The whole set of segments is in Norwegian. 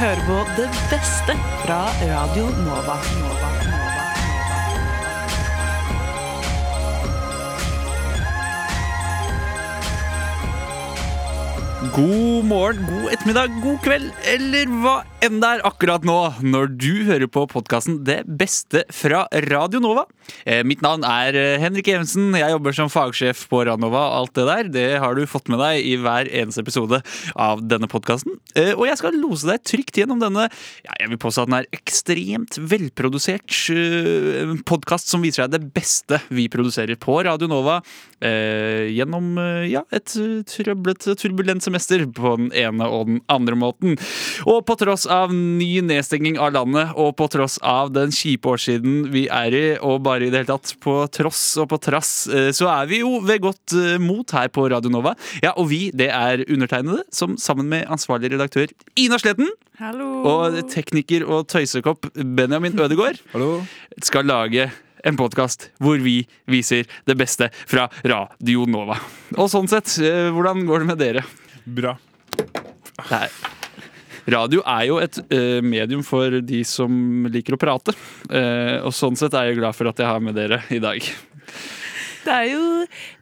hører på det beste fra Radio Nova. Nova, Nova. God morgen, god ettermiddag, god kveld, eller hva enn det er akkurat nå når du hører på podkasten Det beste fra Radio Nova. Eh, mitt navn er eh, Henrik Evensen. Jeg jobber som fagsjef på Ranova. Alt det der det har du fått med deg i hver eneste episode av denne podkasten. Eh, og jeg skal lose deg trygt gjennom denne ja, jeg vil påstå at den er ekstremt velprodusert eh, podkast som viser deg det beste vi produserer på Radio Nova eh, gjennom eh, ja, et eh, trøblet, turbulent semester på den ene og den andre måten. Og på tross av ny nedstenging av landet, og på tross av den kjipe årssiden vi er i, og bare i det hele tatt på tross og på trass, eh, så er vi jo ved godt eh, mot her på Radio Nova. Ja, og vi, det er undertegnede, som sammen med ansvarlig redaktør Ina Sletten og tekniker og tøysekopp Benjamin Ødegaard skal lage en podkast hvor vi viser det beste fra Radio Nova. Og sånn sett, eh, hvordan går det med dere? Bra. Det er Radio er jo et eh, medium for de som liker å prate. Eh, og sånn sett er jeg glad for at jeg har med dere i dag. Det er jo,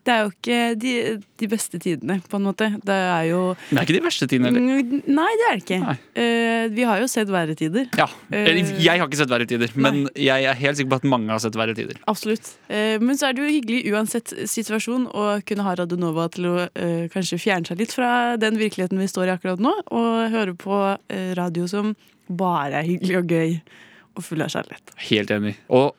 det er jo ikke de, de beste tidene, på en måte. Det er jo Men det er ikke de verste tidene heller. Mm, Nei, det er det ikke. Nei. Eh, vi har jo sett verre tider. Eh, Ja. Eller, jeg har ikke sett verre tider, men jeg er helt sikker på at mange har sett verre tider. Absolutt. Eh, men så er det jo hyggelig uansett situasjon å kunne ha Radionova til å eh, kanskje fjerne seg litt fra den virkeligheten vi står i akkurat nå, og høre på eh, radio som bare er hyggelig og gøy og full av kjærlighet. Helt enig. Og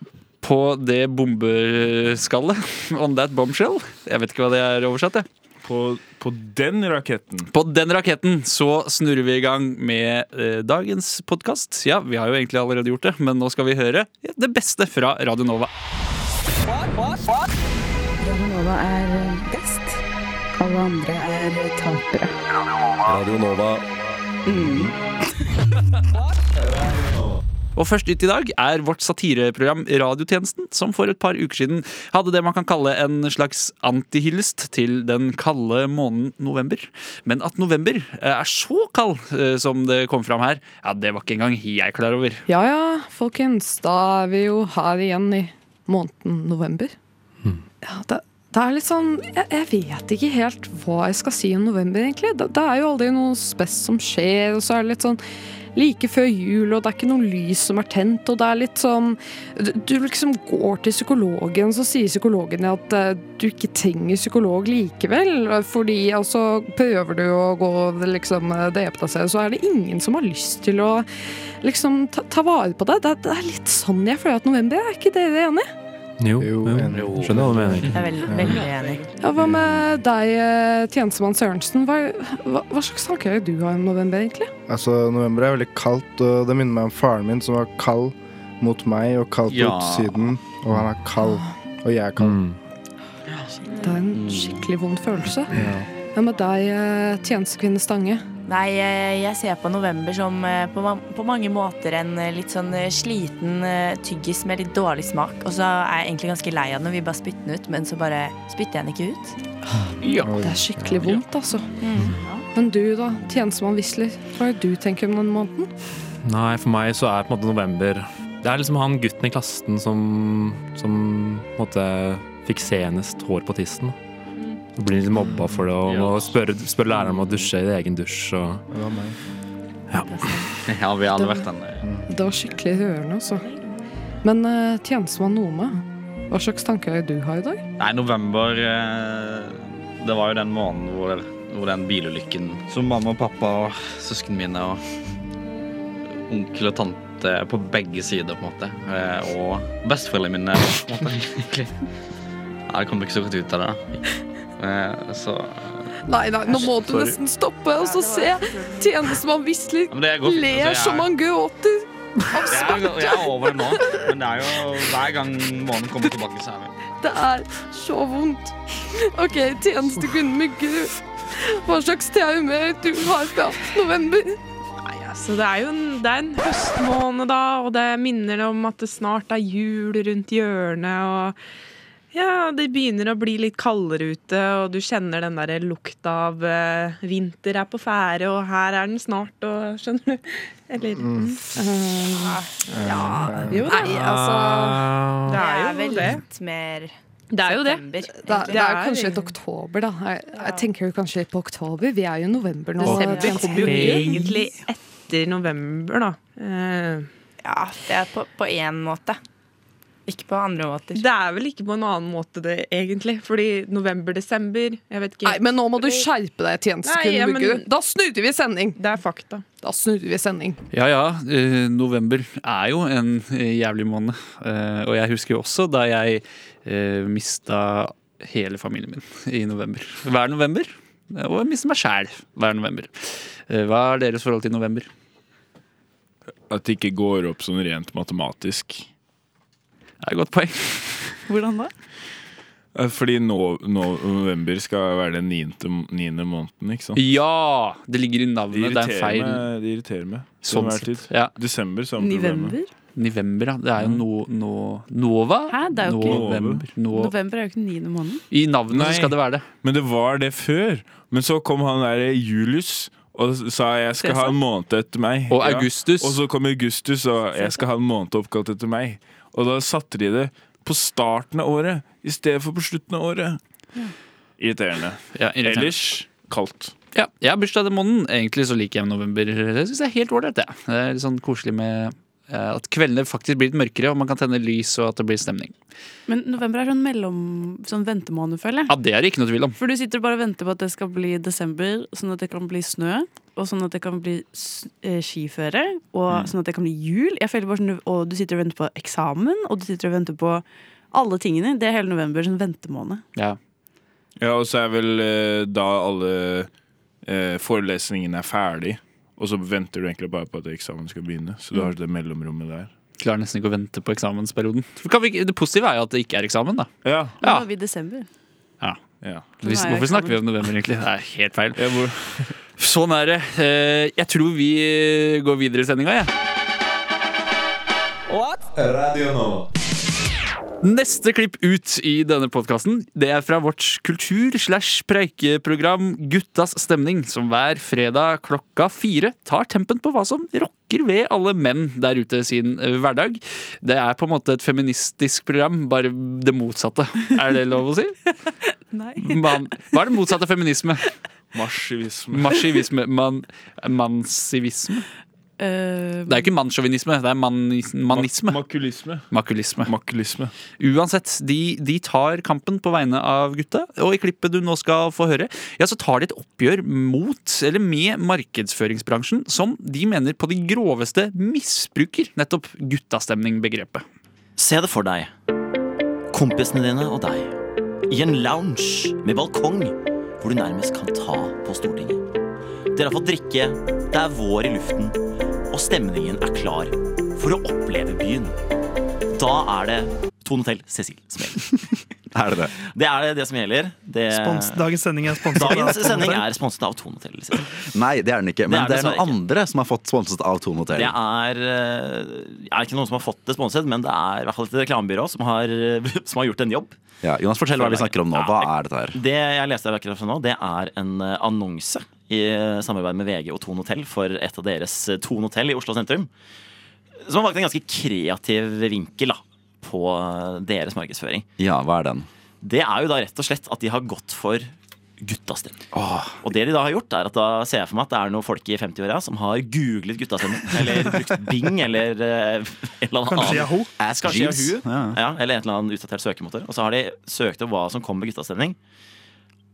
på det bombeskallet, on that bombshell Jeg vet ikke hva det er oversatt, jeg. På, på den raketten. På den raketten så snurrer vi i gang med eh, dagens podkast. Ja, vi har jo egentlig allerede gjort det, men nå skal vi høre ja, det beste fra Radio Nova. Nova er eh, best. Alle andre er tapere. Radio Nova. Og først ut i dag er vårt satireprogram Radiotjenesten, som for et par uker siden hadde det man kan kalle en slags antihyllest til den kalde måneden november. Men at november eh, er så kald eh, som det kom fram her, ja, det var ikke engang jeg klar over. Ja ja, folkens. Da er vi jo her igjen i måneden november. Ja, det, det er litt sånn jeg, jeg vet ikke helt hva jeg skal si om november, egentlig. Det, det er jo aldri noe spes som skjer, og så er det litt sånn like før jul, og det er ikke noe lys som er tent, og det er litt sånn Du, du liksom går til psykologen, så sier psykologen at eh, du ikke trenger psykolog likevel, fordi og så prøver du å gå liksom eh, drepe deg selv, så er det ingen som har lyst til å liksom ta, ta vare på deg. Det, det er litt sånn jeg føler at november er. Er ikke dere enig? Jo, jo, skjønner hva du mener. Jeg er veldig, veldig enig. Ja, Hva med deg, eh, tjenestemann Sørensen? Hva, hva, hva slags tanker har du om november, egentlig? Altså, november er veldig kaldt, og det minner meg om faren min som var kald mot meg og kald på Ja. utsiden. Og han er kald, og jeg er kald. Mm. Det er en Mm. skikkelig vond følelse. Hva med deg, eh, tjenestekvinne Stange? Nei, eh, jeg ser på november som eh, på, ma- på mange måter en eh, litt sånn eh, sliten eh, tyggis med litt dårlig smak. Og så er jeg egentlig ganske lei av den og vil bare spytte den ut, men så bare spytter jeg den ikke ut. Det er skikkelig Ja. vondt, altså. Men du da, tjenestemann Wisler, hva er det du tenker om denne måneden? Nei, for meg så er på en måte november Det er liksom han gutten i klassen som, som på en måte fikk senest hår på tissen. Og blir litt mobba for det, og må spørre, spørre læreren om å dusje i egen dusj. Og Det var meg. Ja, vi har alle Det- Mm. vært den eh, Det var skikkelig rørende, altså. Men eh, tjenestemann Nome, hva slags tanker er det du har i dag? Nei, november eh, Det var jo den måneden hvor, hvor den bilulykken som mamma og pappa og søsknene mine og onkel og tante på begge sider, på en måte, eh, og besteforeldrene mine på en måte, egentlig. Nei, det kom ikke så godt ut av det, da. Eh, Så ja, Nei, nei, nå må du nesten stoppe og så se tjenestemann Wisler Men det går fint. Altså, jeg er- gråter. Jeg er, jeg er over det nå, men det er jo hver gang måneden kommer tilbake, så er vi Det er så vondt. OK, tjenestekvinne Myggerud. Hva slags traumer du har fra november? Nei, altså, det er jo en, det er en høstmåned, da, og det minner om at det snart er jul rundt hjørnet. og Ja, det begynner å bli litt kaldere ute, og du kjenner den der lukta av eh, vinter er på ferde, og her er den snart, og skjønner du? Eller Mm. Mm. Eh, Ja, jo da. Nei, altså, Det er det jo er vel det. litt mer Det er jo det. Det er, det er kanskje litt oktober, da. Jeg, jeg tenker jo kanskje på oktober. Vi er jo i november nå. Desember Ganske kommer jo mye. egentlig etter november, da. Eh, Ja, det er på én måte. Ikke på andre måter. Det er vel ikke på en annen måte, det, egentlig. Fordi november-desember, jeg vet ikke Nei, men nå må du skjerpe deg, Nei, ja, tjenestekunde men- Bugge. Da snudde vi sending! Det er fakta. Da snudde vi sending. Ja ja, eh, november er jo en eh, jævlig måned. Eh, og jeg husker jo også da jeg eh, mista hele familien min i november. Hver november. Eh, Og jeg mister meg sjæl hver november. Eh, hva er deres forhold til november? At det ikke går opp sånn rent matematisk. Det er et godt poeng. Hvordan da? Eh, Fordi nå, nå, november skal være den niende, niende måneden, ikke sant? Ja! Det ligger i Liksom. Det navnet. Det er en irriterer feil. meg. Det irriterer meg. til Sånn enhver sett, tid. Desember, samme Mm. problemet. November? Nivember, ja. Det er jo no, no, Nova. Hæ, det er jo ikke November. No, November er jo ikke den niende måneden. I navnet så skal det være det. Men det var det før. Men så kom han der eh, Julius og sa jeg skal ha en måned etter meg. Og Augustus. Og så kom Augustus og jeg skal ha en måned oppkalt etter meg. Og da satte de det på starten av året i stedet for på slutten av året. Irriterende. irriterende. Ellers kaldt. Ja, jeg har bursdag den måneden. Egentlig så liker jeg november. Det synes jeg er helt ålreit. jeg. Det er litt sånn koselig med eh, at kveldene faktisk blir litt mørkere, og man kan tenne lys, og at det blir stemning. Men november er sånn mellom sånn ventemåned, føler jeg. Ja, Det er det ikke noe tvil om. For du sitter bare og venter på at det skal bli desember, sånn at det kan bli snø. Og sånn at det kan bli s- eh, skiføre, og Mm. sånn at det kan bli jul. Jeg føler bare sånn, Og du sitter og venter på eksamen, og du sitter og venter på alle tingene. Det er hele november, sånn ventemåned. Ja. og så er vel eh, da alle eh, forelesningene er ferdig, og så venter du egentlig bare på at eksamen skal begynne. Så du Mm. har det mellomrommet der. Klarer nesten ikke å vente på eksamensperioden. For Kan vi, ikke- det positive er jo at det ikke er eksamen, da. Ja. Nå er vi i desember. Ja. Nå er Hvis, jeg hvorfor snakker vi om november, egentlig? Det er helt feil. Sånn er det. Eh, Jeg tror vi eh, går videre i sendinga, jeg. Radio Nova. Neste klipp ut i denne podkasten er fra vårt kultur-slash-preikeprogram Guttas stemning, som hver fredag klokka fire tar tempen på hva som rocker ved alle menn der ute sin eh, hverdag. Det er på en måte et feministisk program, bare det motsatte. Er det lov å si? Nei. Man, hva er det motsatte av feminisme? Marsivisme. Marsivisme. Man, mansivisme? Det Eh, er jo ikke mannssjåvinisme, det er manis, manisme. Makulisme. Makulisme. Makulisme. Uansett, de, de tar kampen på vegne av gutta. Og i klippet du nå skal få høre, ja, så tar de et oppgjør mot, eller med, markedsføringsbransjen, som de mener på de groveste misbruker nettopp guttastemning-begrepet. Se det for deg. Kompisene dine og deg. I en lounge med balkong, hvor du nærmest kan ta på Stortinget. Dere har fått drikke, det er vår i luften, og stemningen er klar for å oppleve byen. Da er det Tone Tell Cecil som gjelder. er det det? Det er det, det som gjelder. Det... Spons, dagens sending er sponset av Eh, Dagens Tone sending Tell. er sponset av Tone Tell Cecil. Nei, det er den ikke. Det er Men det er, dessverre noen andre som har fått sponset av Tone Hotel. Det er, eh, er ikke noen som har fått det sponset, men det er i hvert fall et reklamebyrå som har, som har gjort en jobb. Ja, Jonas, fortell hva vi snakker om nå. Hva er dette her? Det jeg leste akkurat fra nå, det er en eh, annonse i eh, samarbeid med VG og Tone Hotell for et av deres eh, Tone Hotell i Oslo sentrum. Som har valgt en ganske kreativ vinkel da, på eh, deres markedsføring. Ja, hva er den? Det er jo da rett og slett at de har gått for guttastemning. Og det de da har gjort, er at da ser jeg for meg at det er noen folk i 50-åra som har googlet guttastemning. Eller brukt Bing eller eh, en eller annen Kanskje Yahoo? Ask Kanskje Jeeves. Yahoo. Ja. Ja. eller en eller annen utdatert søkemotor. Og så har de søkt opp hva som kom med guttastemning.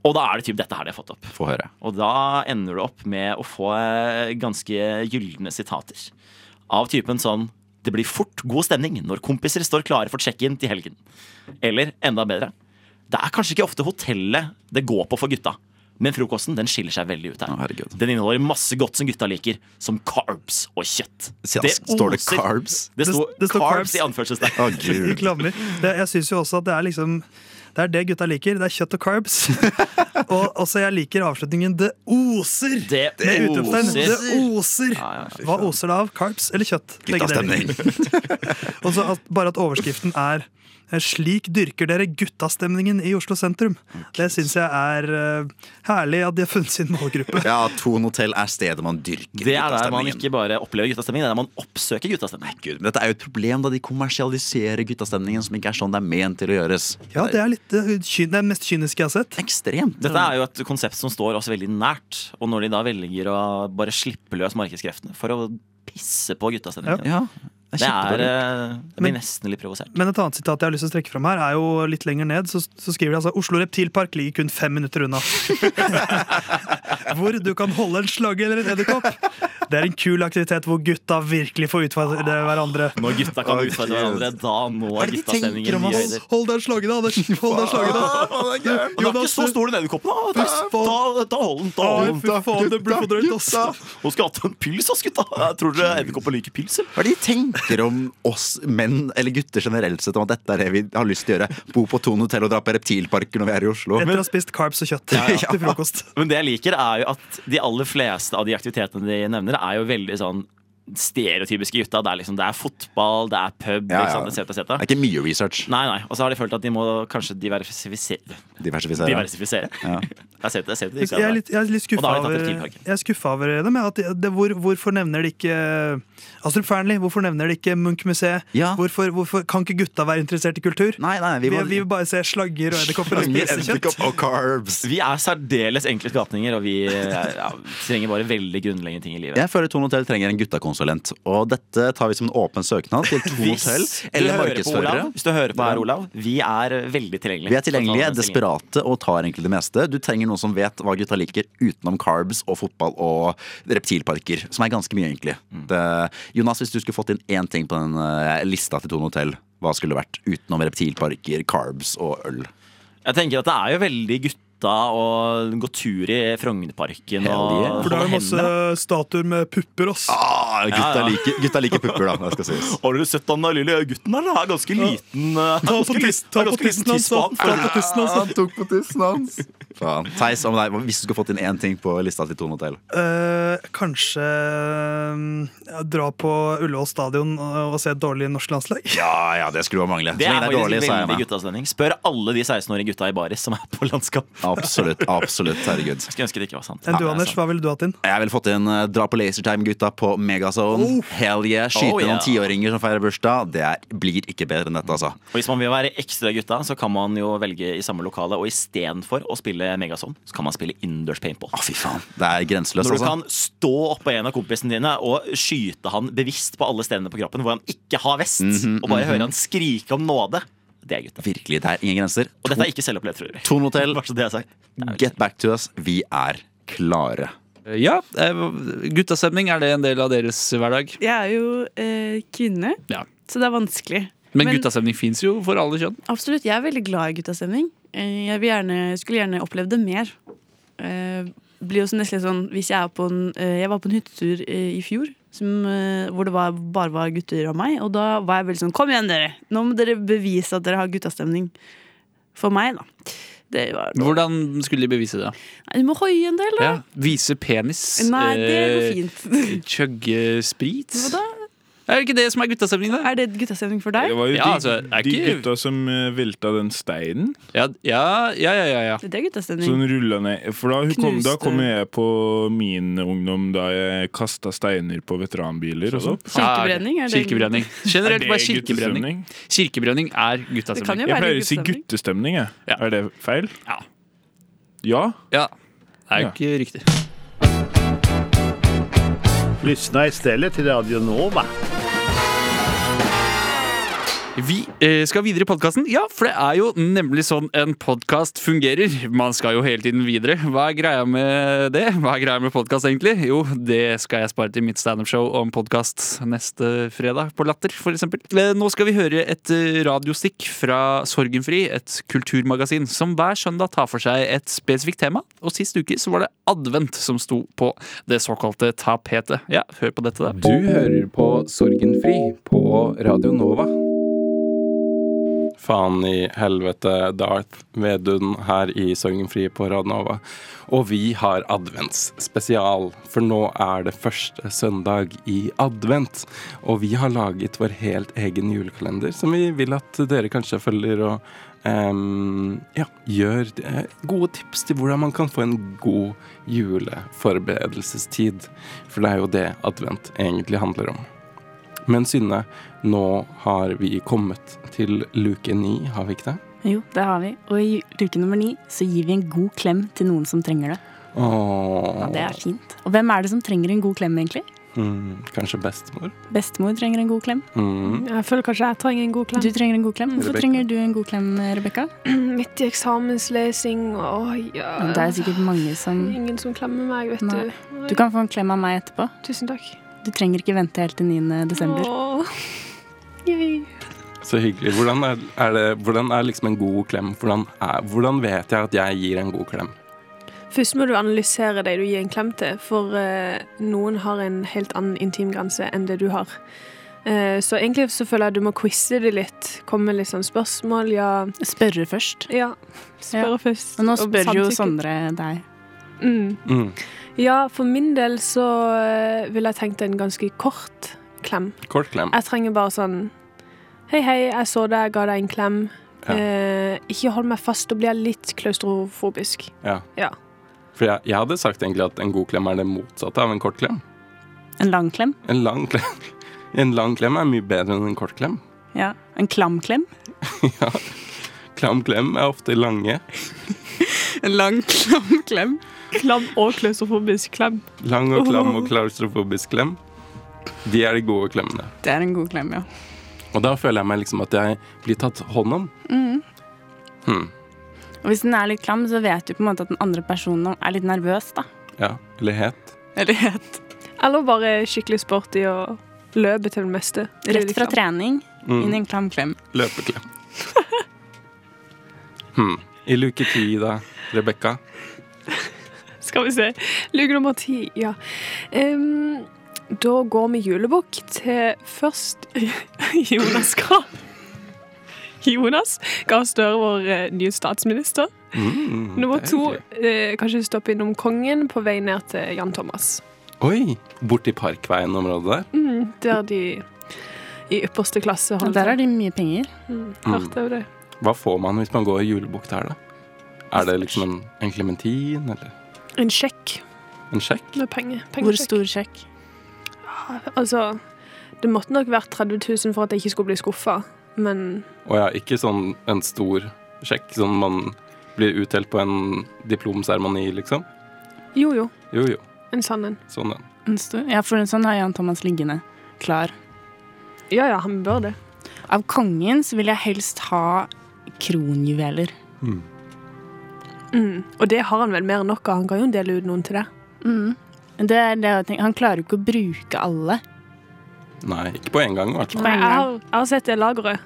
Og da er det typ dette her de har fått opp. Få høre. Og da ender du opp med å få eh, ganske gylne sitater. Av typen sånn Det blir fort god stemning når kompiser står klare for check-in til helgen. Eller enda bedre. Det er kanskje ikke ofte hotellet det går på for gutta. Men frokosten den skiller seg veldig ut her. den inneholder masse godt som gutta liker, som carbs og kjøtt. Ja, står det carbs? Det, Det- står det står carbs carbs. i anførselstegn. Reklamer. Det, jeg syns jo også at det er liksom Det er det gutta liker. Det er kjøtt og carbs. og også jeg liker avslutningen 'det oser'. Det Med utropstegn. oser. Det oser. Hva oser det av? Carbs eller kjøtt? Begge deler. og så at, bare at overskriften er eh, 'Slik dyrker dere guttastemningen i Oslo sentrum'. Det syns jeg er eh, herlig at de har funnet sin målgruppe. Ja, Thon hotell er stedet man dyrker Det er der man guttastemningen. ikke bare opplever guttastemning, det er der man oppsøker guttastemning. Gud, men dette er jo et problem da de kommersialiserer guttastemningen, som ikke er sånn det er ment til å gjøres. Ja, det er litt eh, kyn- det er det mest kyniske jeg har sett. Ekstremt. Dette er jo et konsept som står oss veldig nært, og når de da velger å bare slippe løs markedskreftene for å pisse på guttastemningen Ja. det, det er er kjempedårlig. eh, Jeg Men- blir nesten litt provosert. Men et annet sitat jeg har lyst til å strekke fram her, er jo litt lenger ned. Så, så skriver de altså Oslo Reptilpark ligger kun fem minutter unna. hvor du kan holde en slange eller en edderkopp. Det er en kul aktivitet hvor gutta virkelig får utfordre hverandre. Når gutta kan utfordre hverandre, da når guttastemningen nye høyder. Hold den slangen, Anders! Hold den slangen, Og det er ikke så stor den edderkoppen, da. Da, da, da hold den. Da Nei, hold fy faen, det blir for drøyt, altså. ass. Hun skulle hatt en pils, ass, gutta. Tror dere edderkopper liker pils, eller? Hva er det de tenker om oss menn, eller gutter generelt sett, om at dette er det vi har lyst til å gjøre? Bo på Thon hotell og dra på reptilparker når vi er i Oslo? Etter å ha spist carbs og kjøtt Ja, ja. til frokost. Men det jeg liker, er jo at de aller fleste av de aktivitetene de nevner, er jo veldig sånn stereotypiske gutta. Det er liksom, det er fotball, det er pub, Ja, ikke ja. sant, et cetera, et cetera. Det er ikke mye research. Nei, nei. Og så har de følt at de må kanskje diversifisere. Diversifisere. Diversifisere. Ja. Jeg ser det, jeg ser det. Jeg jeg er litt, jeg er litt Og da skuffa har de over, tatt reptilparken. jeg er skuffa over dem. jeg, At de- det, hvor, hvorfor nevner de ikke eh, Astrup Fearnley? Hvorfor nevner de ikke Munch-museet? Hvorfor, hvorfor kan ikke gutta være interessert i kultur? Nei, nei, vi, vi vi, må- vil bare se slagger og edderkopper Altså, og spise kjøtt. Vi er særdeles enkle skapninger, og vi ja, trenger bare veldig grunnleggende ting i livet. Jeg føler Thon hotell trenger en guttakonsulent, og dette tar vi som en åpen søknad til Thon hotell Hvis du eller hører på markedsførere. Olav, hvis du hører på her, Olav, vi er veldig tilgjengelige. Vi Så er tilgjengelige, ta den stillingen. desperate og tar egentlig det meste. Du trenger noen som vet hva gutta liker utenom carbs og fotball og reptilparker, som er ganske mye, egentlig. Mm. Det, Jonas, hvis du skulle fått inn én ting på den eh, lista til Tone Hotell, hva skulle det vært utenom reptilparker, carbs og øl? Jeg tenker at det er jo veldig gutta å gå tur i Frognerparken og Hell yeah. For da er holde det masse hender. statuer med pupper, ass. Ah, gutta, Ja, ja. Liker, gutta liker pupper, da. Det skal sies. Har dere sett han der lille gutten der? Han er ganske liten. eh, Ta på ganske tiss- liten- ta på ganske liten tissen hans, da. tiss på han. Ta på tissen altså. hans, da. Han tok på tissen hans. Faen. Theis, om deg, hvis du skulle fått inn én ting på lista til Tone Hotell Eh, kanskje eh, ja, dra på Ullevål stadion og, og se et dårlig norsk landslag. Ja, ja, det skulle bare mangle. Det Så er lenge det er faktisk dårlig, så er jeg veldig med. guttastemning. Spør alle de 16-årige gutta i baris som er på landskamp. Absolutt. absolutt, herregud Jeg skulle ønske det ikke var sant. Enn du, Ja, det er Anders, sant. hva ville du hatt inn? Jeg ville fått inn eh, dra på Lasertime-gutta på Megazone. Oh. Hell yeah, Skyte Oh, yeah. noen tiåringer som feirer bursdag. Det er, blir ikke bedre enn dette, altså. Og Hvis man vil være ekstra gutta, så kan man jo velge i samme lokale. Og istedenfor å spille Megazone, så kan man spille innendørs paintball. Å, fy faen. Det er grenseløst, Når du altså. kan stå oppå en av kompisene dine og skyte han bevisst på alle stedene på kroppen hvor han ikke har vest, Mhm, og bare mhm. høre han skrike om nåde. Det er gutta. Virkelig, det er ingen grenser. Og dette er ikke selvopplevd, tror jeg. Tone Hotel, Bare så det er sagt. get back to us. Vi er klare. Ja, eh, guttastemning, er det en del av deres hverdag? Jeg er jo eh, kvinne, så det er vanskelig. Men, guttastemning fins jo for alle kjønn. Absolutt, jeg er veldig glad i guttastemning. Eh, Jeg vil gjerne, skulle gjerne opplevd det mer. Eh, blir jo sånn nesten litt sånn hvis jeg, er på en, eh, jeg var på en hyttetur eh, i fjor som, eh, hvor det var, bare var gutter og meg, og da var jeg veldig sånn Kom igjen, dere! Nå må dere bevise at dere har guttastemning. For meg, da. Det var Hvordan skulle de bevise det? Nei, Du må hoie en del, da. Ja, vise penis. Nei, det går eh, fint. Chugge sprit. Hva da? Er det ikke det som er guttastemning, da? Er det guttastemning for deg? Det var jo Ja, de, altså, er de ikke- gutta som eh, velta den steinen. Ja, ja, ja. ja, ja. Det er guttastemning. Som rulla ned. For da, hun kom, da Knuste. kom jeg på min ungdom da jeg kasta steiner på veteranbiler og sånn. Kirkebrenning, er det- Kirkebrenning. Generelt Er det bare kirkebrenning. Kirkebrenning er guttastemning. Jeg pleier å si guttestemning, jeg. Er det feil? Ja. Ja? Ja. Det er jo ikke riktig. Lyssna istället till Radio Nova. Vi eh, skal videre i podkasten. Ja, for det er jo nemlig sånn en podkast fungerer. Man skal jo hele tiden videre. Hva er greia med det? Hva er greia med podkast, egentlig? Jo, det skal jeg spare til mitt standup-show om podkast neste fredag, på Latter, f.eks. Nå skal vi høre et eh, radiostikk fra Sorgenfri, et kulturmagasin som hver søndag tar for seg et spesifikt tema. Og sist uke så var det advent som sto på det såkalte tapetet. Ja, hør på dette, da. Du hører på Sorgenfri på Radio Nova. Faen i helvete, Darth Vedun her i Sognefri på Radnova. Og vi har adventsspesial, for nå er det første søndag i advent. Og vi har laget vår helt egen julekalender, som vi vil at dere kanskje følger og em, ja, gjør eh, gode tips til hvordan man kan få en god juleforberedelsestid. For det er jo det advent egentlig handler om. Men Synne, nå har vi kommet til luke ni, har vi ikke det? Jo, det har vi. Og i luke nummer ni så gir vi en god klem til noen som trenger det. Åh. Ja, det er fint. Og hvem er det som trenger en god klem, egentlig? Mm, kanskje bestemor? Bestemor trenger en god klem. Mm. Jeg føler kanskje jeg trenger en god klem. Du trenger en god klem. Hvorfor Rebecca. trenger du en god klem, Rebekka? Midt i eksamenslesing og ja Det er sikkert mange som Ingen som klemmer meg, vet Nei. du. Du kan få en klem av meg etterpå. Tusen takk. Du trenger ikke vente helt til 9. desember. Så hyggelig. Hvordan er, er det, hvordan er liksom en god klem? Hvordan, er, hvordan vet jeg at jeg gir en god klem? Først må du analysere de du gir en klem til, for eh, noen har en helt annen intimgrense enn det du har. Eh, så egentlig så føler jeg du må quize det litt. Komme med litt sånn spørsmål, ja. Spørre først. Ja. Spørre først. Og nå om spør jo samtykke. Sondre deg. Mm. Ja, for min del så eh, ville jeg tenkt en ganske kort klem. Kort klem. Jeg trenger bare sånn Hei, hei, jeg så deg, jeg ga deg en klem. Ja. Eh, ikke hold meg fast, da blir jeg litt klaustrofobisk. Ja. Ja. For jeg, jeg hadde sagt egentlig at en god klem er det motsatte av en kort klem. En lang klem? En lang klem, en lang klem er mye bedre enn en kort klem. Ja. En klam klem? Klam klem er ofte lange. En lang, klam klem. Klam og klaustrofobisk klem. Lang og klam og klaustrofobisk klem. De er de gode klemmene. Det er en god klem, ja. Og da føler jeg meg liksom at jeg blir tatt hånd om. Mm. Hmm. Og hvis den er litt klam, så vet du på en måte at den andre personen er litt nervøs, da. Ja, eller het. Eller Eller bare skikkelig sporty og løpe til det meste. Rett fra trening Mm. inn i en klam klem. Løpeklem. Hmm. I luke ti, da, Rebekka. Skal vi se. Luke nummer ti, ja. Ehm, da går vi julebukk til først Jonas Gahr. Jonas Gahr Støre, vår eh, nye statsminister. Mm, Nummer det er to, hyggelig. eh, kanskje stoppe innom Kongen på vei ned til Jan Thomas. Oi! Borti Parkveien-området der. Mm, der de i ypperste klasse holder Der har de mye penger. Mm, hørte jeg jo det. Hva får man hvis man går i julebukk der, da? Er det liksom en- en klementin, eller En sjekk en sjekk? med penger. Hvor stor sjekk? Altså, det måtte nok vært 30 000 for at jeg ikke skulle bli skuffa, men Og ja, ikke sånn en stor sjekk, sånn man blir utdelt på en diplomseremoni, liksom. jo, jo. Jo, jo. En sann en. Sånn den. En stor- Ja, for en sånn har Jan Thomas liggende klar. Ja, ja, han bør det. Av kongen så vil jeg helst ha kronjuveler. Mm. Og det har han vel mer enn nok av. Han kan jo dele ut noen til deg. Mm. Det er det jeg tenker. Han klarer jo ikke å bruke alle. Nei, ikke på en gang, i hvert fall. Nei, jeg, har, jeg har sett det lageret,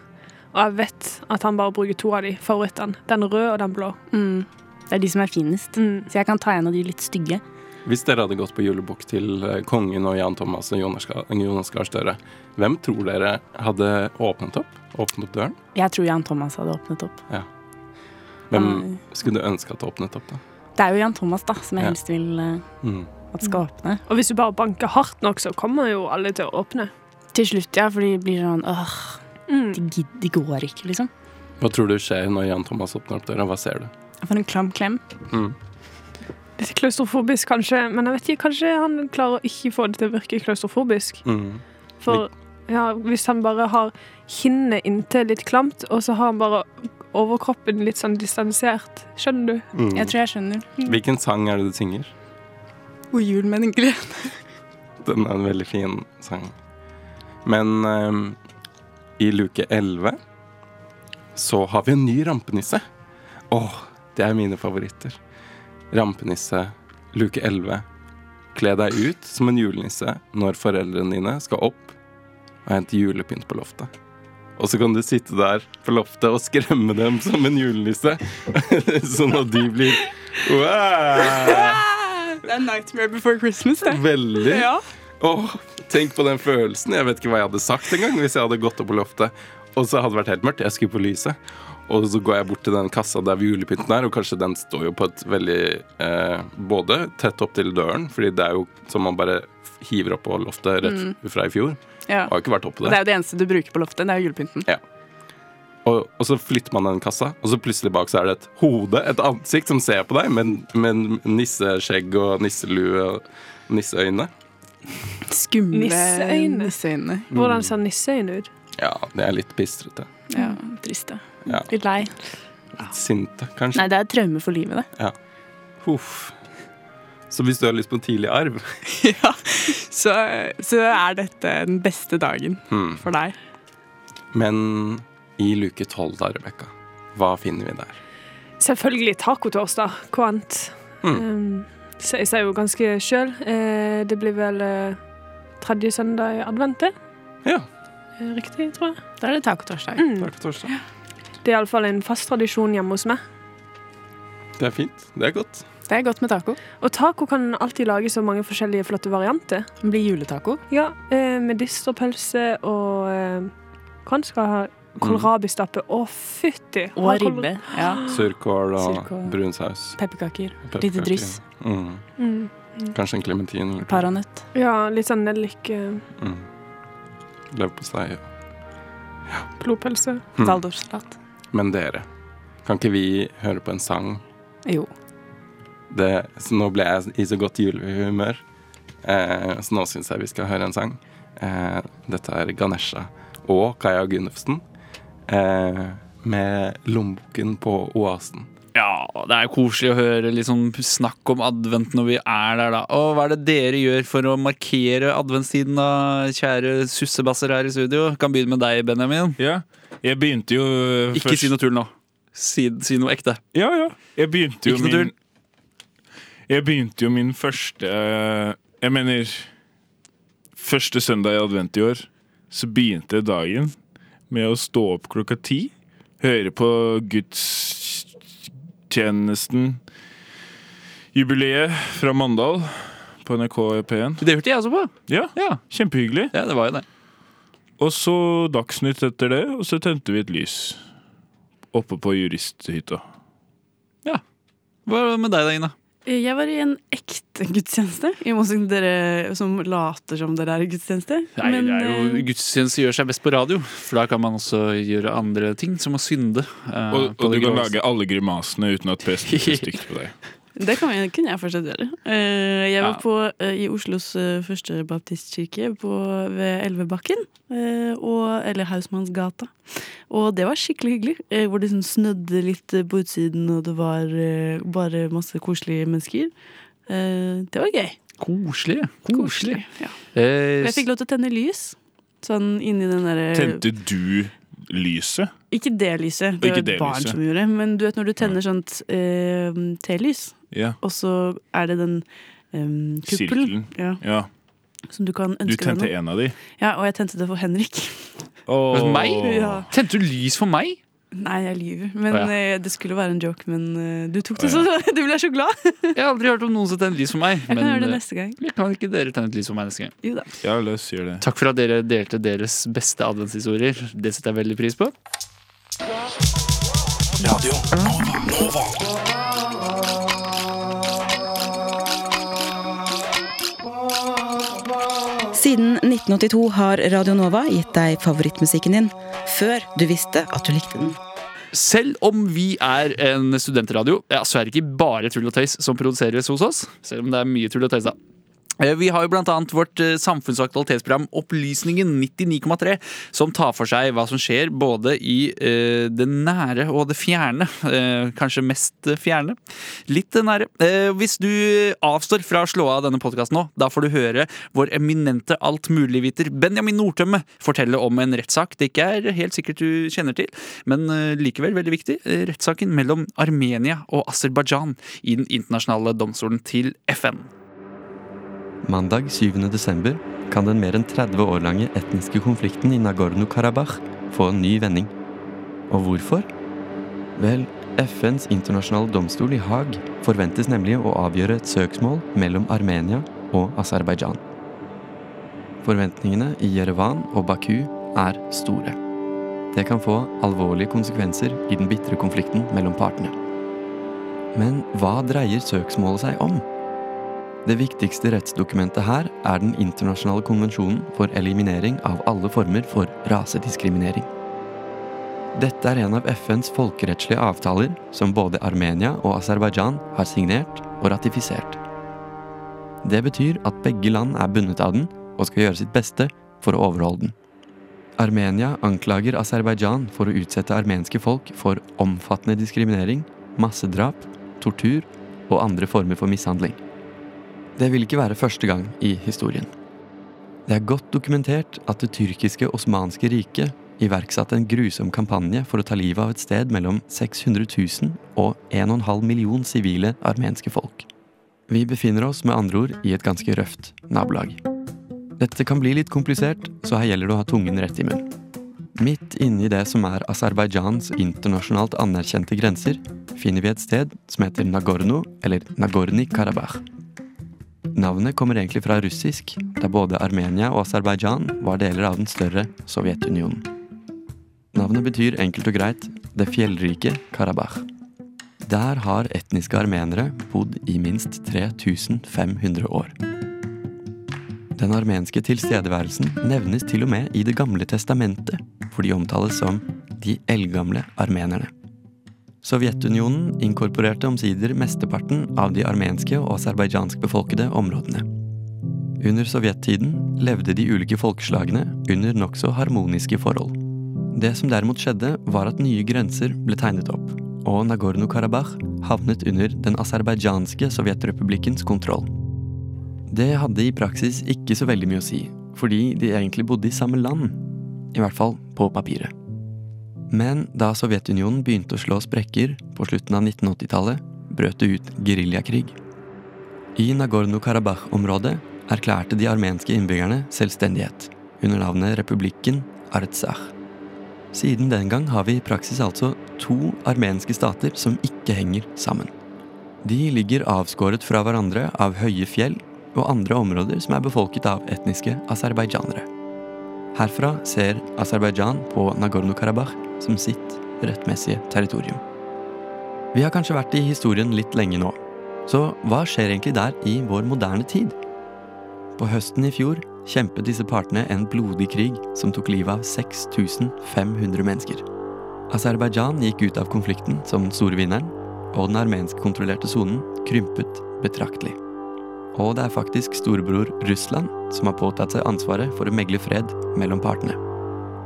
og jeg vet at han bare bruker to av de favorittene. Den røde og den blå. Mm. Mm. Det er de som er finest. Så jeg kan ta en av de litt stygge. Hvis dere hadde gått på julebukk til eh, kongen og Jan Thomas og Jonas Ga- Jonas Gahr Støre, hvem tror dere hadde åpnet opp? Åpnet opp døren? Jeg tror Jan Thomas hadde åpnet opp. Ja. Hvem Han- skulle du ønske at åpnet opp, da? Det er jo Jan Thomas da, som jeg Ja. helst vil eh, Mm. at skal åpne. Og hvis du bare banker hardt nok, så kommer jo alle til å åpne. Mm. Til slutt, ja, for de blir sånn åh, de, gid- de går ikke, liksom. Hva tror du skjer når Jan Thomas åpner opp døra? Hva ser du? For en klam klem. Mm. Litt klaustrofobisk, kanskje, men jeg vet ikke, kanskje han klarer å ikke få det til å virke klaustrofobisk. Mm. For ja, hvis han bare har kinnet inntil litt klamt, og så har han bare overkroppen litt sånn distansert. Skjønner du? Mm. Jeg tror jeg skjønner. Hvilken sang er det du synger? God jul med den glede. Den er en veldig fin sang. Men ehm, i luke 11 så har vi en ny rampenisse. Åh, det er mine favoritter. Rampenisse, luke 11. Kle deg ut som en julenisse når foreldrene dine skal opp og hente julepynt på loftet. Og så kan du sitte der på loftet og skremme dem som en julenisse, sånn at de blir wow! Det er Nightmare Before Christmas, det. Veldig. Ja. Åh, tenk på den følelsen. Jeg vet ikke hva jeg hadde sagt engang hvis jeg hadde gått opp på loftet Og så hadde det vært helt mørkt. Jeg skulle på lyset. Og så går jeg bort til den kassa der julepynten er, og kanskje den står jo på et veldig eh, Både tett opp til døren, fordi det er jo som man bare hiver opp på loftet rett Mm. fra i fjor. Ja. Har ikke vært oppe Og det er der. jo det eneste du bruker på loftet. Det er jo julepynten. Og, og så flytter man den kassa, og så plutselig bak så er det et hode, et ansikt, som ser på deg, men med nisseskjegg og nisselue og nisseøyne. Skumle Nisseøyne. nisseøyne. Hvordan ser nisseøyne ut? Ja, det er litt bistrete. Ja, trist, det. Ja. Litt lei. Litt sinte, kanskje. Nei, det er et traume for livet, det. Ja. Huff. Så hvis du har lyst på en tidlig arv Så, så er dette den beste dagen Hmm. for deg. Men i luke tolv da, Rebekka, hva finner vi der? Selvfølgelig tacotorsdag. Hva annet? Mm. Um, så jeg sier jo ganske sjøl. Eh, det blir vel eh, tredje søndag i advent, det. Ja. Eh, Riktig, tror jeg. Da er det tacotorsdag. Mm. Tacotorsdag. Det er iallfall en fast tradisjon hjemme hos meg. Det er fint. Det er godt. Det er godt med taco. Og taco kan alltid lage så mange forskjellige flotte varianter. Det blir juletaco. Ja, eh, medisterpølse og eh, Hva en skal ha? Mm. Kålrabistappe. Å, fytti! Og Ha kål- ribbe. Ja. Surkål og Surkål. brun saus. Pepperkaker. Pepperkaker. Lite dryss. Mm. Mm. Kanskje en klementin eller Paranøtt. Ja, litt sånn nellik. Eh, mm. leverpostei. blodpølse. Mm. Waldorfsalat. Men dere, kan ikke vi høre på en sang? Jo. Det, så nå ble jeg i så godt julehumør, eh, så nå syns jeg vi skal høre en sang. Eh, dette er Ganesha og Kaja Gunnufsen eh, med 'Lommeboken på oasen'. Ja, det er jo koselig å høre litt sånn snakk om advent når vi er der, da. Og hva er det dere gjør for å markere adventstiden, da, kjære sussebasser her i studio? Kan begynne med deg, Benjamin. Ja, jeg begynte jo Ikke si noe tull nå. Si, si noe ekte. Ja, ja. Jeg begynte jo Ikke noe min Jeg begynte jo min første eh, Jeg mener Første søndag i advent i år Så begynte jeg dagen Med å stå opp klokka ti Høre på gudstjenesten Jubileet fra Mandal På NRK P1 Det hørte jeg også på Ja, kjempehyggelig Ja, det var jo det Og så dagsnytt etter det Og så tente vi et lys Oppe på juristhytta Hva er det med deg da, Ina? Eh, Jeg var i en ekte gudstjeneste, i motsetning til dere som later som dere er i gudstjeneste. Nei, Men, det er jo eh, Gudstjeneste gjør seg best på radio, for da kan man også gjøre andre ting, som å synde. eh, Og, på og du det kan groveste. lage alle grimasene uten at presten ser stygt på deg. Det kan jeg, kunne jeg fortsatt gjøre. Eh, jeg var Ja. på, eh, i Oslos eh, første baptistkirke på, ved Elvebakken. eh, og, eller Hausmannsgata. Og det var skikkelig hyggelig. eh, hvor det sånn snødde litt eh, på utsiden, og det var eh, bare masse koselige mennesker. Eh, det var gøy. Koselig. Koselig. Ja. Eh, Og Jeg fikk lov til å tenne lys. Sånn inni den derre Tente du lyset? Ikke det lyset, Og det ikke var et det barn lyset. som gjorde det. Men du vet når du tenner sånt eh, telys, Ja. og så er det den eh, kuppelen Sirkelen. ja, Ja. som du kan Du ønske tente deg noe. en av de. Ja, og jeg tente det for Henrik. Men meg? Ja. Tente du lys for meg? Nei, jeg lyver. Men Å, ja. eh, det skulle være en joke, men eh, du tok det Å, ja. så Du ble så glad! Jeg har aldri hørt om noen som tenner lys for meg. Jeg kan gjøre det eh, neste gang. jeg Kan ikke dere tenne et lys for meg neste gang? Jo da. Ja, løs gjør det. Takk for at dere delte deres beste adventshistorier. Det setter jeg veldig pris på. altså. Radio Nova. Siden 1982 har Radio Nova gitt deg favorittmusikken din før du visste at du likte den. Selv om vi er en studentradio, ja, så er det ikke bare tull og tøys som produseres hos oss. Selv om det er mye tull og tøys, da. Eh, Vi har jo blant annet vårt eh, samfunns- og aktualitetsprogram Opplysningen 99,3, som tar for seg hva som skjer både i eh, det nære og det fjerne. Eh, kanskje mest eh, fjerne. Litt eh, nære. Eh, hvis du avstår fra å slå av denne podkasten nå, da får du høre vår eminente altmuligviter Benjamin Nordtømme fortelle om en rettssak det ikke er helt sikkert du kjenner til, men eh, likevel veldig viktig. Eh, Rettssaken mellom Armenia og Aserbajdsjan i Den internasjonale domstolen til FN. Mandag 7. desember kan den mer enn 30 år lange etniske konflikten i Nagorno-Karabakh få en ny vending. Og hvorfor? Vel, FNs internasjonale domstol i Haag forventes nemlig å avgjøre et søksmål mellom Armenia og Aserbajdsjan. Forventningene i Jerevan og Baku er store. Det kan få alvorlige konsekvenser i den bitre konflikten mellom partene. Men hva dreier søksmålet seg om? Det viktigste rettsdokumentet her er den internasjonale konvensjonen for eliminering av alle former for rasediskriminering. Dette er en av FNs folkerettslige avtaler som både Armenia og Aserbajdsjan har signert og ratifisert. Det betyr at begge land er bundet av den og skal gjøre sitt beste for å overholde den. Armenia anklager Aserbajdsjan for å utsette armenske folk for omfattende diskriminering, massedrap, tortur og andre former for mishandling. Det vil ikke være første gang i historien. Det er godt dokumentert at det tyrkiske osmanske riket iverksatte en grusom kampanje for å ta livet av et sted mellom 600 000 og 1,5 million sivile armenske folk. Vi befinner oss med andre ord i et ganske røft nabolag. Dette kan bli litt komplisert, så her gjelder det å ha tungen rett i munnen. Midt inni det som er Aserbajdsjans internasjonalt anerkjente grenser, finner vi et sted som heter Nagorno, eller Nagorni-Karabakh. Navnet kommer egentlig fra russisk, der både Armenia og Aserbajdsjan var deler av den større Sovjetunionen. Navnet betyr enkelt og greit det fjellrike Karabakh. Der har etniske armenere bodd i minst 3500 år. Den armenske tilstedeværelsen nevnes til og med i Det gamle testamentet, hvor de omtales som de eldgamle armenerne. Sovjetunionen inkorporerte omsider mesteparten av de armenske og aserbajdsjansk befolkede områdene. Under sovjettiden levde de ulike folkeslagene under nokså harmoniske forhold. Det som derimot skjedde, var at nye grenser ble tegnet opp, og Nagorno-Karabakh havnet under den aserbajdsjanske sovjetrepublikkens kontroll. Det hadde i praksis ikke så veldig mye å si, fordi de egentlig bodde i samme land. I hvert fall på papiret. Men da Sovjetunionen begynte å slå sprekker på slutten av 1980-tallet, brøt det ut geriljakrig. I Nagorno-Karabakh-området erklærte de armenske innbyggerne selvstendighet, under navnet republikken Artsakh. Siden den gang har vi i praksis altså to armenske stater som ikke henger sammen. De ligger avskåret fra hverandre av høye fjell og andre områder som er befolket av etniske aserbajdsjanere. Herfra ser Aserbajdsjan på Nagorno-Karabakh som sitt rettmessige territorium. Vi har kanskje vært i historien litt lenge nå, så hva skjer egentlig der i vår moderne tid? På høsten i fjor kjempet disse partene en blodig krig som tok livet av 6500 mennesker. Aserbajdsjan gikk ut av konflikten som den store vinneren, og den armenskkontrollerte sonen krympet betraktelig. Og det er faktisk storebror Russland som har påtatt seg ansvaret for å megle fred mellom partene.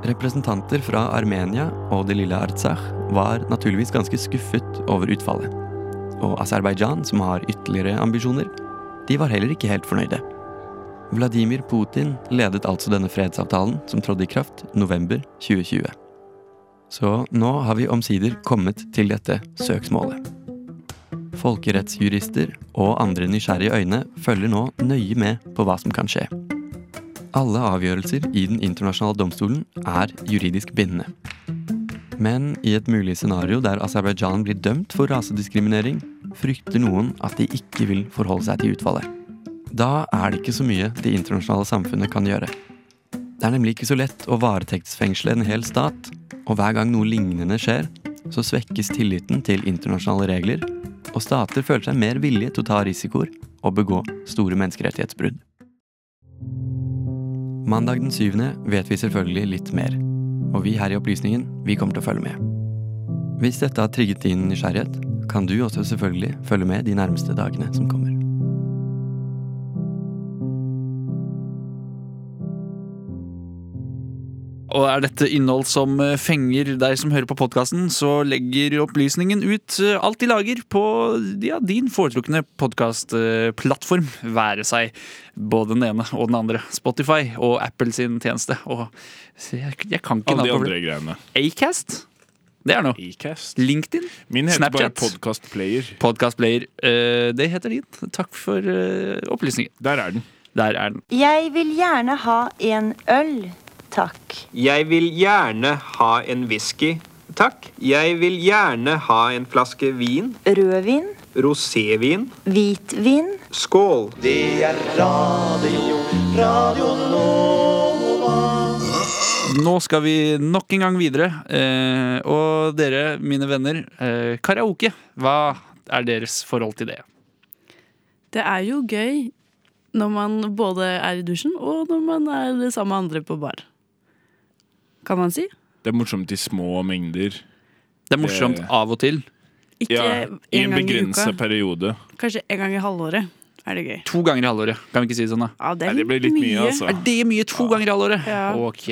Representanter fra Armenia og det lille Artsakh var naturligvis ganske skuffet over utfallet. Og Aserbajdsjan, som har ytterligere ambisjoner, de var heller ikke helt fornøyde. Vladimir Putin ledet altså denne fredsavtalen, som trådte i kraft november 2020. Så nå har vi omsider kommet til dette søksmålet. Folkerettsjurister og andre nysgjerrige øyne følger nå nøye med på hva som kan skje. Alle avgjørelser i Den internasjonale domstolen er juridisk bindende. Men i et mulig scenario der Aserbajdsjan blir dømt for rasediskriminering, frykter noen at de ikke vil forholde seg til utfallet. Da er det ikke så mye det internasjonale samfunnet kan gjøre. Det er nemlig ikke så lett å varetektsfengsle en hel stat, og hver gang noe lignende skjer, så svekkes tilliten til internasjonale regler, og stater føler seg mer villige til å ta risikoer og begå store menneskerettighetsbrudd. Mandag den 7. vet vi selvfølgelig litt mer, og vi her i Opplysningen vi kommer til å følge med. Hvis dette har trigget din nysgjerrighet, kan du også selvfølgelig følge med de nærmeste dagene som kommer. Og er dette innhold som eh, fenger deg som hører på podkasten, så legger opplysningen ut eh, alt de lager på ja, din foretrukne podkastplattform. Være seg både den ene og den andre. Spotify og Apple sin tjeneste. Og så jeg, jeg kan ikke Alle navnet de på andre det. greiene. Acast? Det er noe. LinkedIn? Min heter bare Snapchat? Podcast Player. Podcast Player. Eh, det heter din. Takk for eh, opplysningen. Der er den. Der er den. Jeg vil gjerne ha en øl, takk. Jeg vil gjerne ha en whisky. Takk. Jeg vil gjerne ha en flaske vin. Rødvin, Rosévin. hvitvin. Skål. Det er radio, radio Nova. Nå skal vi nok en gang videre. Eh, og dere, mine venner, eh, karaoke. Hva er deres forhold til det? Det er jo gøy når man både er i dusjen og når man er sammen med andre på bar. Kan man si. Det er morsomt i små mengder. Det er morsomt av og til. Ikke ja, I en en gang i begrensa uka. periode. Kanskje en gang i halvåret er det gøy. To ganger i halvåret. Kan vi ikke si det sånn, da? Ja, det er Nei, det blir litt mye, mye. altså. Er det mye to ganger i halvåret? Ja. Ok,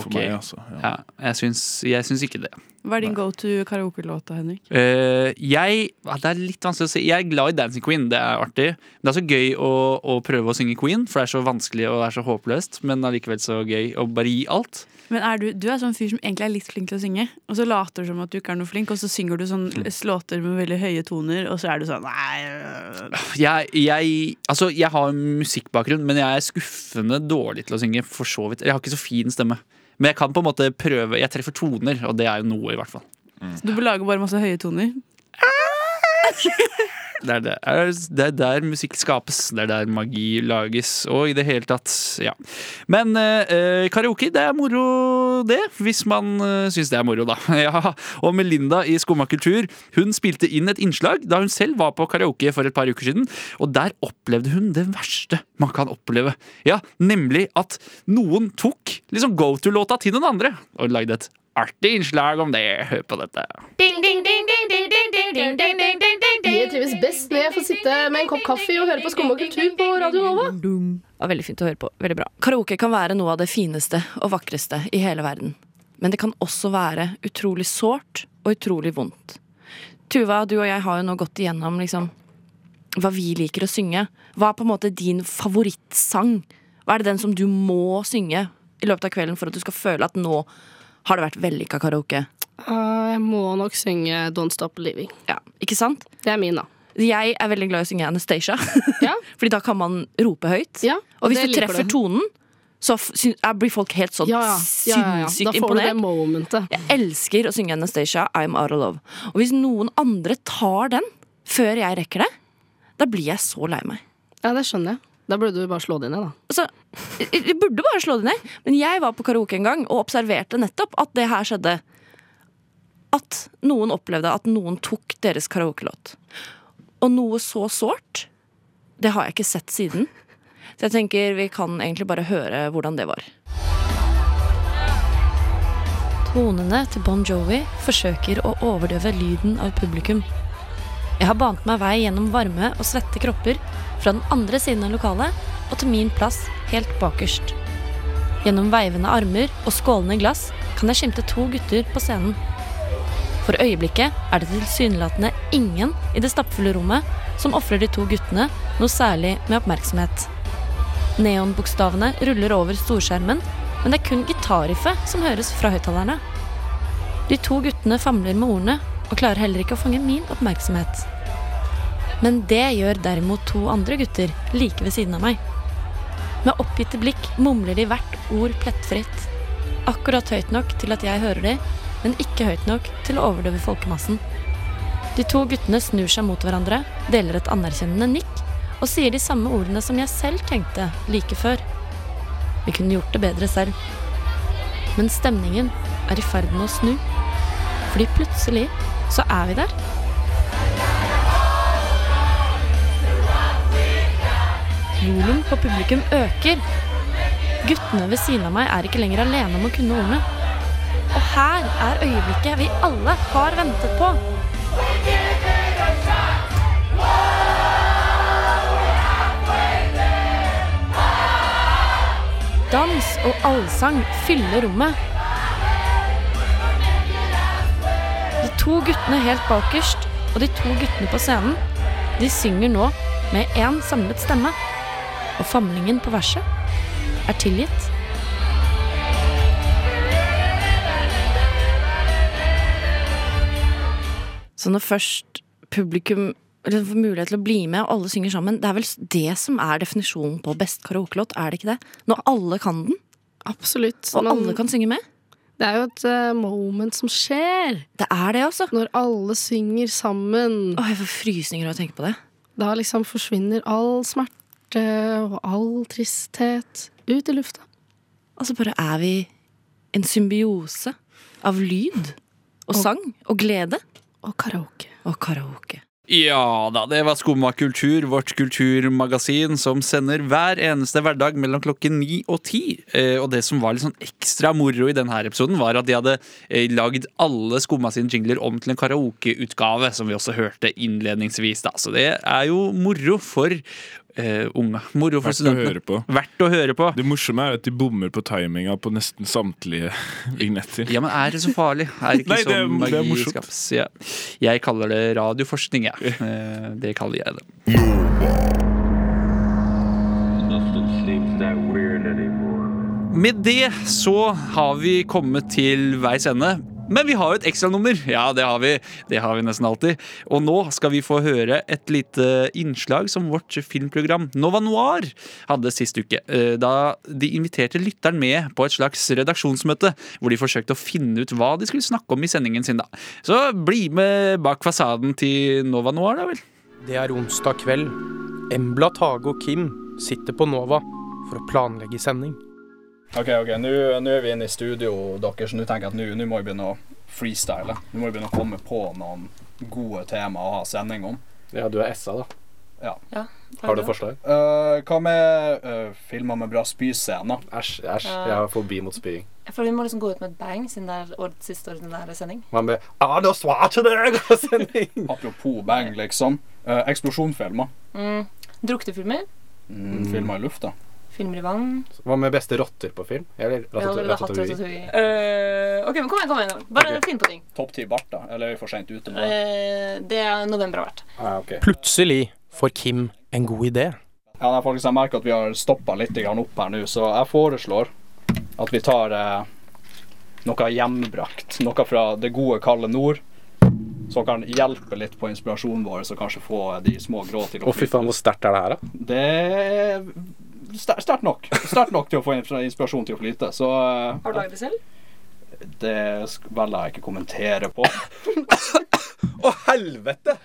ok. meg, altså, Ja, jeg, syns, jeg syns ikke det. Hva er din go to karaoke-låt da, Henrik? Eh, jeg ja, Det er litt vanskelig å si. Jeg er glad i Dancing Queen. Det er artig. Men det er så gøy å, å prøve å synge Queen, for det er så vanskelig og det er så håpløst. Men allikevel så gøy å bare gi alt. Men er du, du er sånn fyr som egentlig er litt flink til å synge, og så later du som at du ikke er noe flink, og så synger du sånn låter med veldig høye toner, og så er du sånn Nei. øh." Jeg, jeg, altså, jeg har en musikkbakgrunn, men jeg er skuffende dårlig til å synge. For så vidt. Jeg har ikke så fin stemme. Men jeg kan på en måte prøve. Jeg treffer toner, og det er jo noe, i hvert fall. Så du lager bare masse høye toner. Det er, det, er, det er der musikk skapes. Det er der magi lages. Og i det hele tatt, ja. Men eh, eh, karaoke, det er moro, det. Hvis man eh, syns det er moro, da. Ja. Og Melinda i Skumma kultur Hun spilte inn et innslag da hun selv var på karaoke for et par uker siden. Og der opplevde hun det verste man kan oppleve. Ja, Nemlig at noen tok liksom go to-låta til den andre og lagde et artig innslag om det. Hør på dette. Jeg trives best når jeg får sitte med en kopp kaffe og høre på Skum og kultur på Radio Nova. Det var veldig fint å høre på. Veldig bra. Karaoke kan være noe av det fineste og vakreste i hele verden. Men det kan også være utrolig sårt og utrolig vondt. Tuva, du og jeg har jo nå gått igjennom liksom, hva vi liker å synge. Hva er på en måte din favorittsang? Hva er det den som du må synge i løpet av kvelden for at du skal føle at nå har det vært vellykka karaoke? Ah, Jeg må nok synge Don't Stop Living. Ja, ikke sant? Det er min, da. Jeg er veldig glad i å synge Anastacia. Fordi da kan man rope høyt. og hvis det du liker treffer du. tonen, så f- syn- er- blir folk helt sånn Ja, ja. Ja, ja, ja. Da sinnssykt får du det imponert. Jeg elsker å synge Anastacia I'm Out of Love. Og hvis noen andre tar den før jeg rekker det, da blir jeg så lei meg. Ja, det skjønner jeg. Da burde du bare slå det ned, da. Altså, jeg- jeg burde bare slå det ned, men jeg var på karaoke en gang og observerte nettopp at det her skjedde. At noen opplevde at noen tok deres karaokelåt. Og noe så sårt, det har jeg ikke sett siden. Så jeg tenker vi kan egentlig bare høre hvordan det var. Tonene til Bon Jovi forsøker å overdøve lyden av publikum. Jeg har bant meg vei gjennom varme og svette kropper fra den andre siden av lokalet og til min plass helt bakerst. Gjennom veivende armer og skålende glass kan jeg skimte to gutter på scenen. For øyeblikket er det tilsynelatende ingen i det stappfulle rommet som ofrer de to guttene noe særlig med oppmerksomhet. Neonbokstavene ruller over storskjermen, men det er kun gitarriffet som høres fra høyttalerne. De to guttene famler med ordene og klarer heller ikke å fange min oppmerksomhet. Men det gjør derimot to andre gutter like ved siden av meg. Med oppgitte blikk mumler de hvert ord plettfritt. Akkurat høyt nok til at jeg hører de, men ikke høyt nok til å overdøve folkemassen. De to guttene snur seg mot hverandre, deler et anerkjennende nikk og sier de samme ordene som jeg selv tenkte like før. Vi kunne gjort det bedre selv. Men stemningen er i ferd med å snu. Fordi plutselig så er vi der. Volum på publikum øker. Guttene ved siden av meg er ikke lenger alene om å kunne ordene. Og her er øyeblikket vi alle har ventet på. Dans og allsang fyller rommet. De to guttene helt bakerst og de to guttene på scenen, de synger nå med én samlet stemme. Og famlingen på verset er tilgitt. Så når først publikum eller får mulighet til å bli med, og alle synger sammen Det er vel det som er definisjonen på best karaokelåt, er det ikke det? Når alle kan den? Absolutt. Og men- alle kan synge med? Det er jo et eh, moment som skjer. Det er det, altså. Når alle synger sammen. Åh, jeg får frysninger av å tenke på det. Da liksom forsvinner all smerte og all tristhet ut i lufta. Og så bare er vi en symbiose av lyd og sang og glede. Og karaoke. Og karaoke. Ja da, det var Skumma kultur, vårt kulturmagasin som sender hver eneste hverdag mellom klokken ni og ti. Eh, og det som var litt sånn ekstra moro i denne her episoden, var at de hadde eh, lagd alle Skumma sine jingler om til en karaokeutgave, som vi også hørte innledningsvis. da. Så det er jo moro for eh, unge. Moro for Verdt å studentene. høre på. Verdt å høre på. Det morsomme er at de bommer på timinga på nesten samtlige vignetter. Ja, men er det så farlig? Er det ikke Nei, det er- sånn magi det er morsomt. skapes? Ja. Jeg kaller det radioforskning, jeg. Eh, Det kaller jeg det. Nothing seems that weird anymore. Med det så har vi kommet til veis ende. Men vi har jo et ekstranummer. Ja, det har vi. Det har vi nesten alltid. Og nå skal vi få høre et lite innslag som vårt filmprogram Nova Noir hadde sist uke. eh, Da de inviterte lytteren med på et slags redaksjonsmøte, hvor de forsøkte å finne ut hva de skulle snakke om i sendingen sin, da. Så bli med bak fasaden til Nova Noir, da vel. Det er onsdag kveld. Embla, Tage og Kim sitter på Nova for å planlegge sending. Ok, ok, nå nå er vi inne i studio deres, så nå tenker jeg at nå- nå må vi begynne å freestyle. Nå må vi begynne å komme på noen gode temaer å ha sending om. Ja, du er SA, da. Ja. Har du forslag? Eh, hva med eh, filmer med bra spyscener? Æsj, Æsj, jeg har fobi mot spying. Jeg føler vi må liksom gå ut med et bang, siden det er årets siste ordinære sending. Hva med ah, Arne Schwarzenegger-sending? Apropos bang, liksom. Eh, eksplosjonfilmer. Mm. Druktefilmer. Mm, Filmer i lufta. Filmer i vann. Hva med beste rotter på film? Eller Vi har allerede hatt ratatouille? Ratatouille. Eh, OK, men kom igjen, kom igjen. Bare Ok. finn på ting. Topp ti bart, da? Eller er vi for seint ute med det? Eh, det er november har vært. Ah, Plutselig får Kim en god idé. Ja, nei, folkens, jeg merker at vi har stoppa litt grann opp her nå, så jeg foreslår at vi tar eh, noe hjemmebrakt. Noe fra det gode, kalde nord. Som kan hjelpe litt på inspirasjonen vår, så kanskje få de små grå til Å, fy faen, hvor sterkt er det her, da? Det er ster- sterkt nok. Sterkt nok til å få insp- inspirasjon til å flyte. Så eh, Har du lagd det selv? det sk- velger jeg ikke å kommentere på. Å, helvete!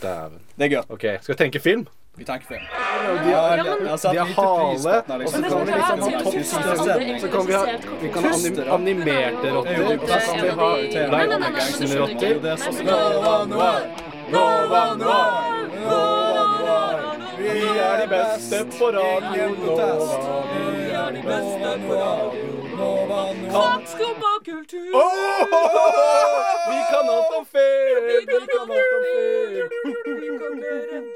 Dæven. Det er gøy. Ok, skal vi tenke film? Vi tenker film. De har, Ja, men- de har hale, og så kan sånn vi liksom ha toppstemme. Så kan vi ha, vi kan ha anim animerte rotter. Jo, Så kan vi ha nei, nei, nei, gangsterrotter. det er sånn. Nova Noir, Nova Noir, Nova Noir. Vi er de beste på radio Nova. Vi er de beste på radio Nova Noir. Skumma kultur. Vi kan alt om film! Vi kan alt om film!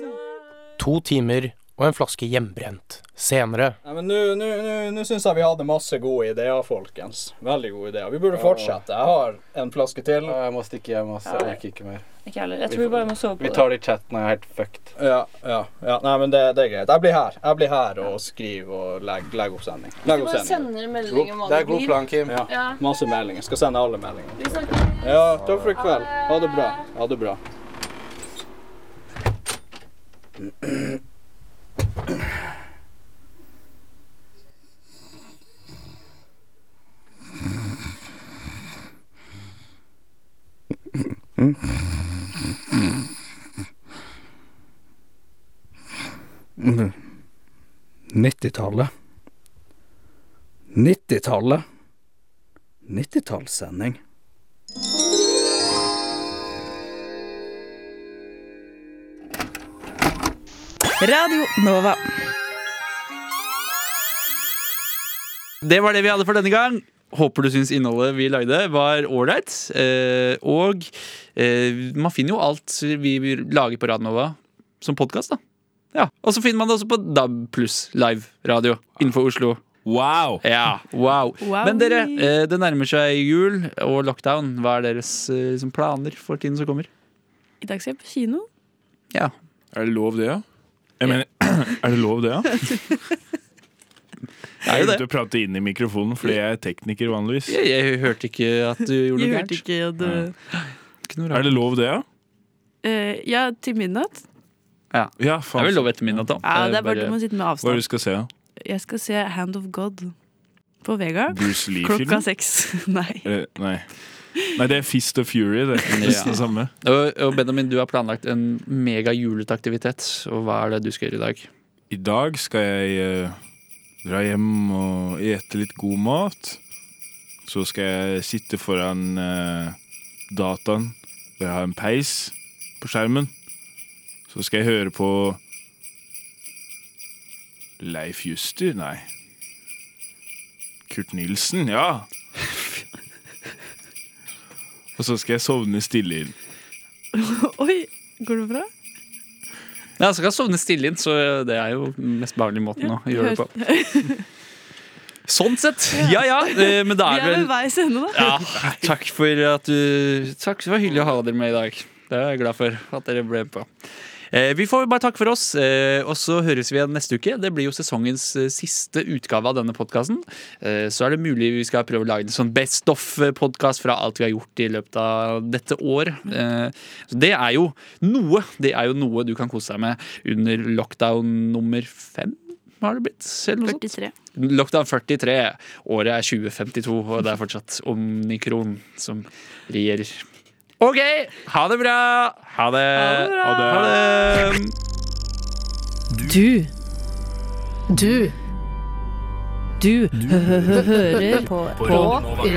To timer og en flaske hjemmebrent. Senere. Nei, men nå- Nå nå- nå syns jeg vi hadde masse gode ideer, folkens. Veldig gode ideer. Vi burde Ja. fortsette. Jeg har en flaske til. Jeg må stikke hjem. ass. Jeg orker ikke mer. Ikke heller. Jeg tror vi bare må sove på Vi det. tar det i chatten. Jeg er helt fucked. Ja, ja, ja. Nei, men det, det er greit. Jeg blir her. Jeg blir her og skriver og legger legg opp sending. Legg Vi opp bare sending. sender melding om hva det blir. Ja. Ja. Masse meldinger. Skal sende alle meldinger. Vi snakkes. Ja, takk for i kveld. Ha det bra. Ha det bra. Mm. 90-tallet. 90-tallet. 90-tallssending. Radio Nova. Det var det vi hadde for denne gang. Håper du syns innholdet vi lagde, var ålreit. Eh, og eh, man finner jo alt vi lager på Radnova som podkast, da. Ja. Og så finner man det også på DAB pluss live radio innenfor Oslo. Wow! Ja, wow. Wow. Men dere, eh, det nærmer seg jul og lockdown. Hva er deres eh, liksom planer for tiden som kommer? I dag skal jeg på kino. Ja. Er det lov, det, ja? Jeg mener, er det lov, det, ja? Jeg begynte å prate inn i mikrofonen fordi jeg er tekniker vanligvis. Jeg, jeg hørte ikke at du gjorde noe gærent. ikke at du- Er det lov, det, ja? Eh, ja, til midnatt. Ja, faen. Det er vel lov etter midnatt, da. Ja, det er bare du må sitte med Hva er avstand. det du skal se, da? Jeg skal se Hand of God på Vegard. Bruce Lee-film? Klokka seks. Nei. Eller, Nei. Nei, det er Fist of Fury. Det er nesten det samme. Og, og Benjamin, du har planlagt en mega juletaktivitet. Og hva er det du skal gjøre i dag? I dag skal jeg eh, dra hjem og ete litt god mat. Så skal jeg sitte foran eh, dataen hvor jeg har en peis på skjermen. Så skal jeg høre på Leif Juster? Nei. Kurt Nilsen, ja. Og så skal jeg sovne stille inn. Oi, går det bra? Ja, så kan jeg sovne stille inn, så det er jo den mest behagelige måten å gjøre det på. Sånn sett! Ja ja, eh, men da er Vi er det ved vel veis ende, da. ja, Takk for at du Takk, det var hyggelig å ha dere med i dag. Det er jeg glad for at dere ble på. Eh, Vi får bare takke for oss, eh, og så høres vi igjen neste uke. Det blir jo sesongens eh, siste utgave av denne podkasten. Så er det mulig vi skal prøve å lage en sånn best of-podkast fra alt vi har gjort i løpet av dette år. Eh, Så det er jo noe. Det er jo noe du kan kose deg med under lockdown nummer fem. Har det blitt? Eller noe sånt? 43. Lockdown 43. Året er 2052, og det er fortsatt omnikron som regjerer. OK! Ha det bra! Ha det! Ha det! Ha det. Du. Du. Du hø- hø- hø- hører på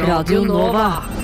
Radio Nova.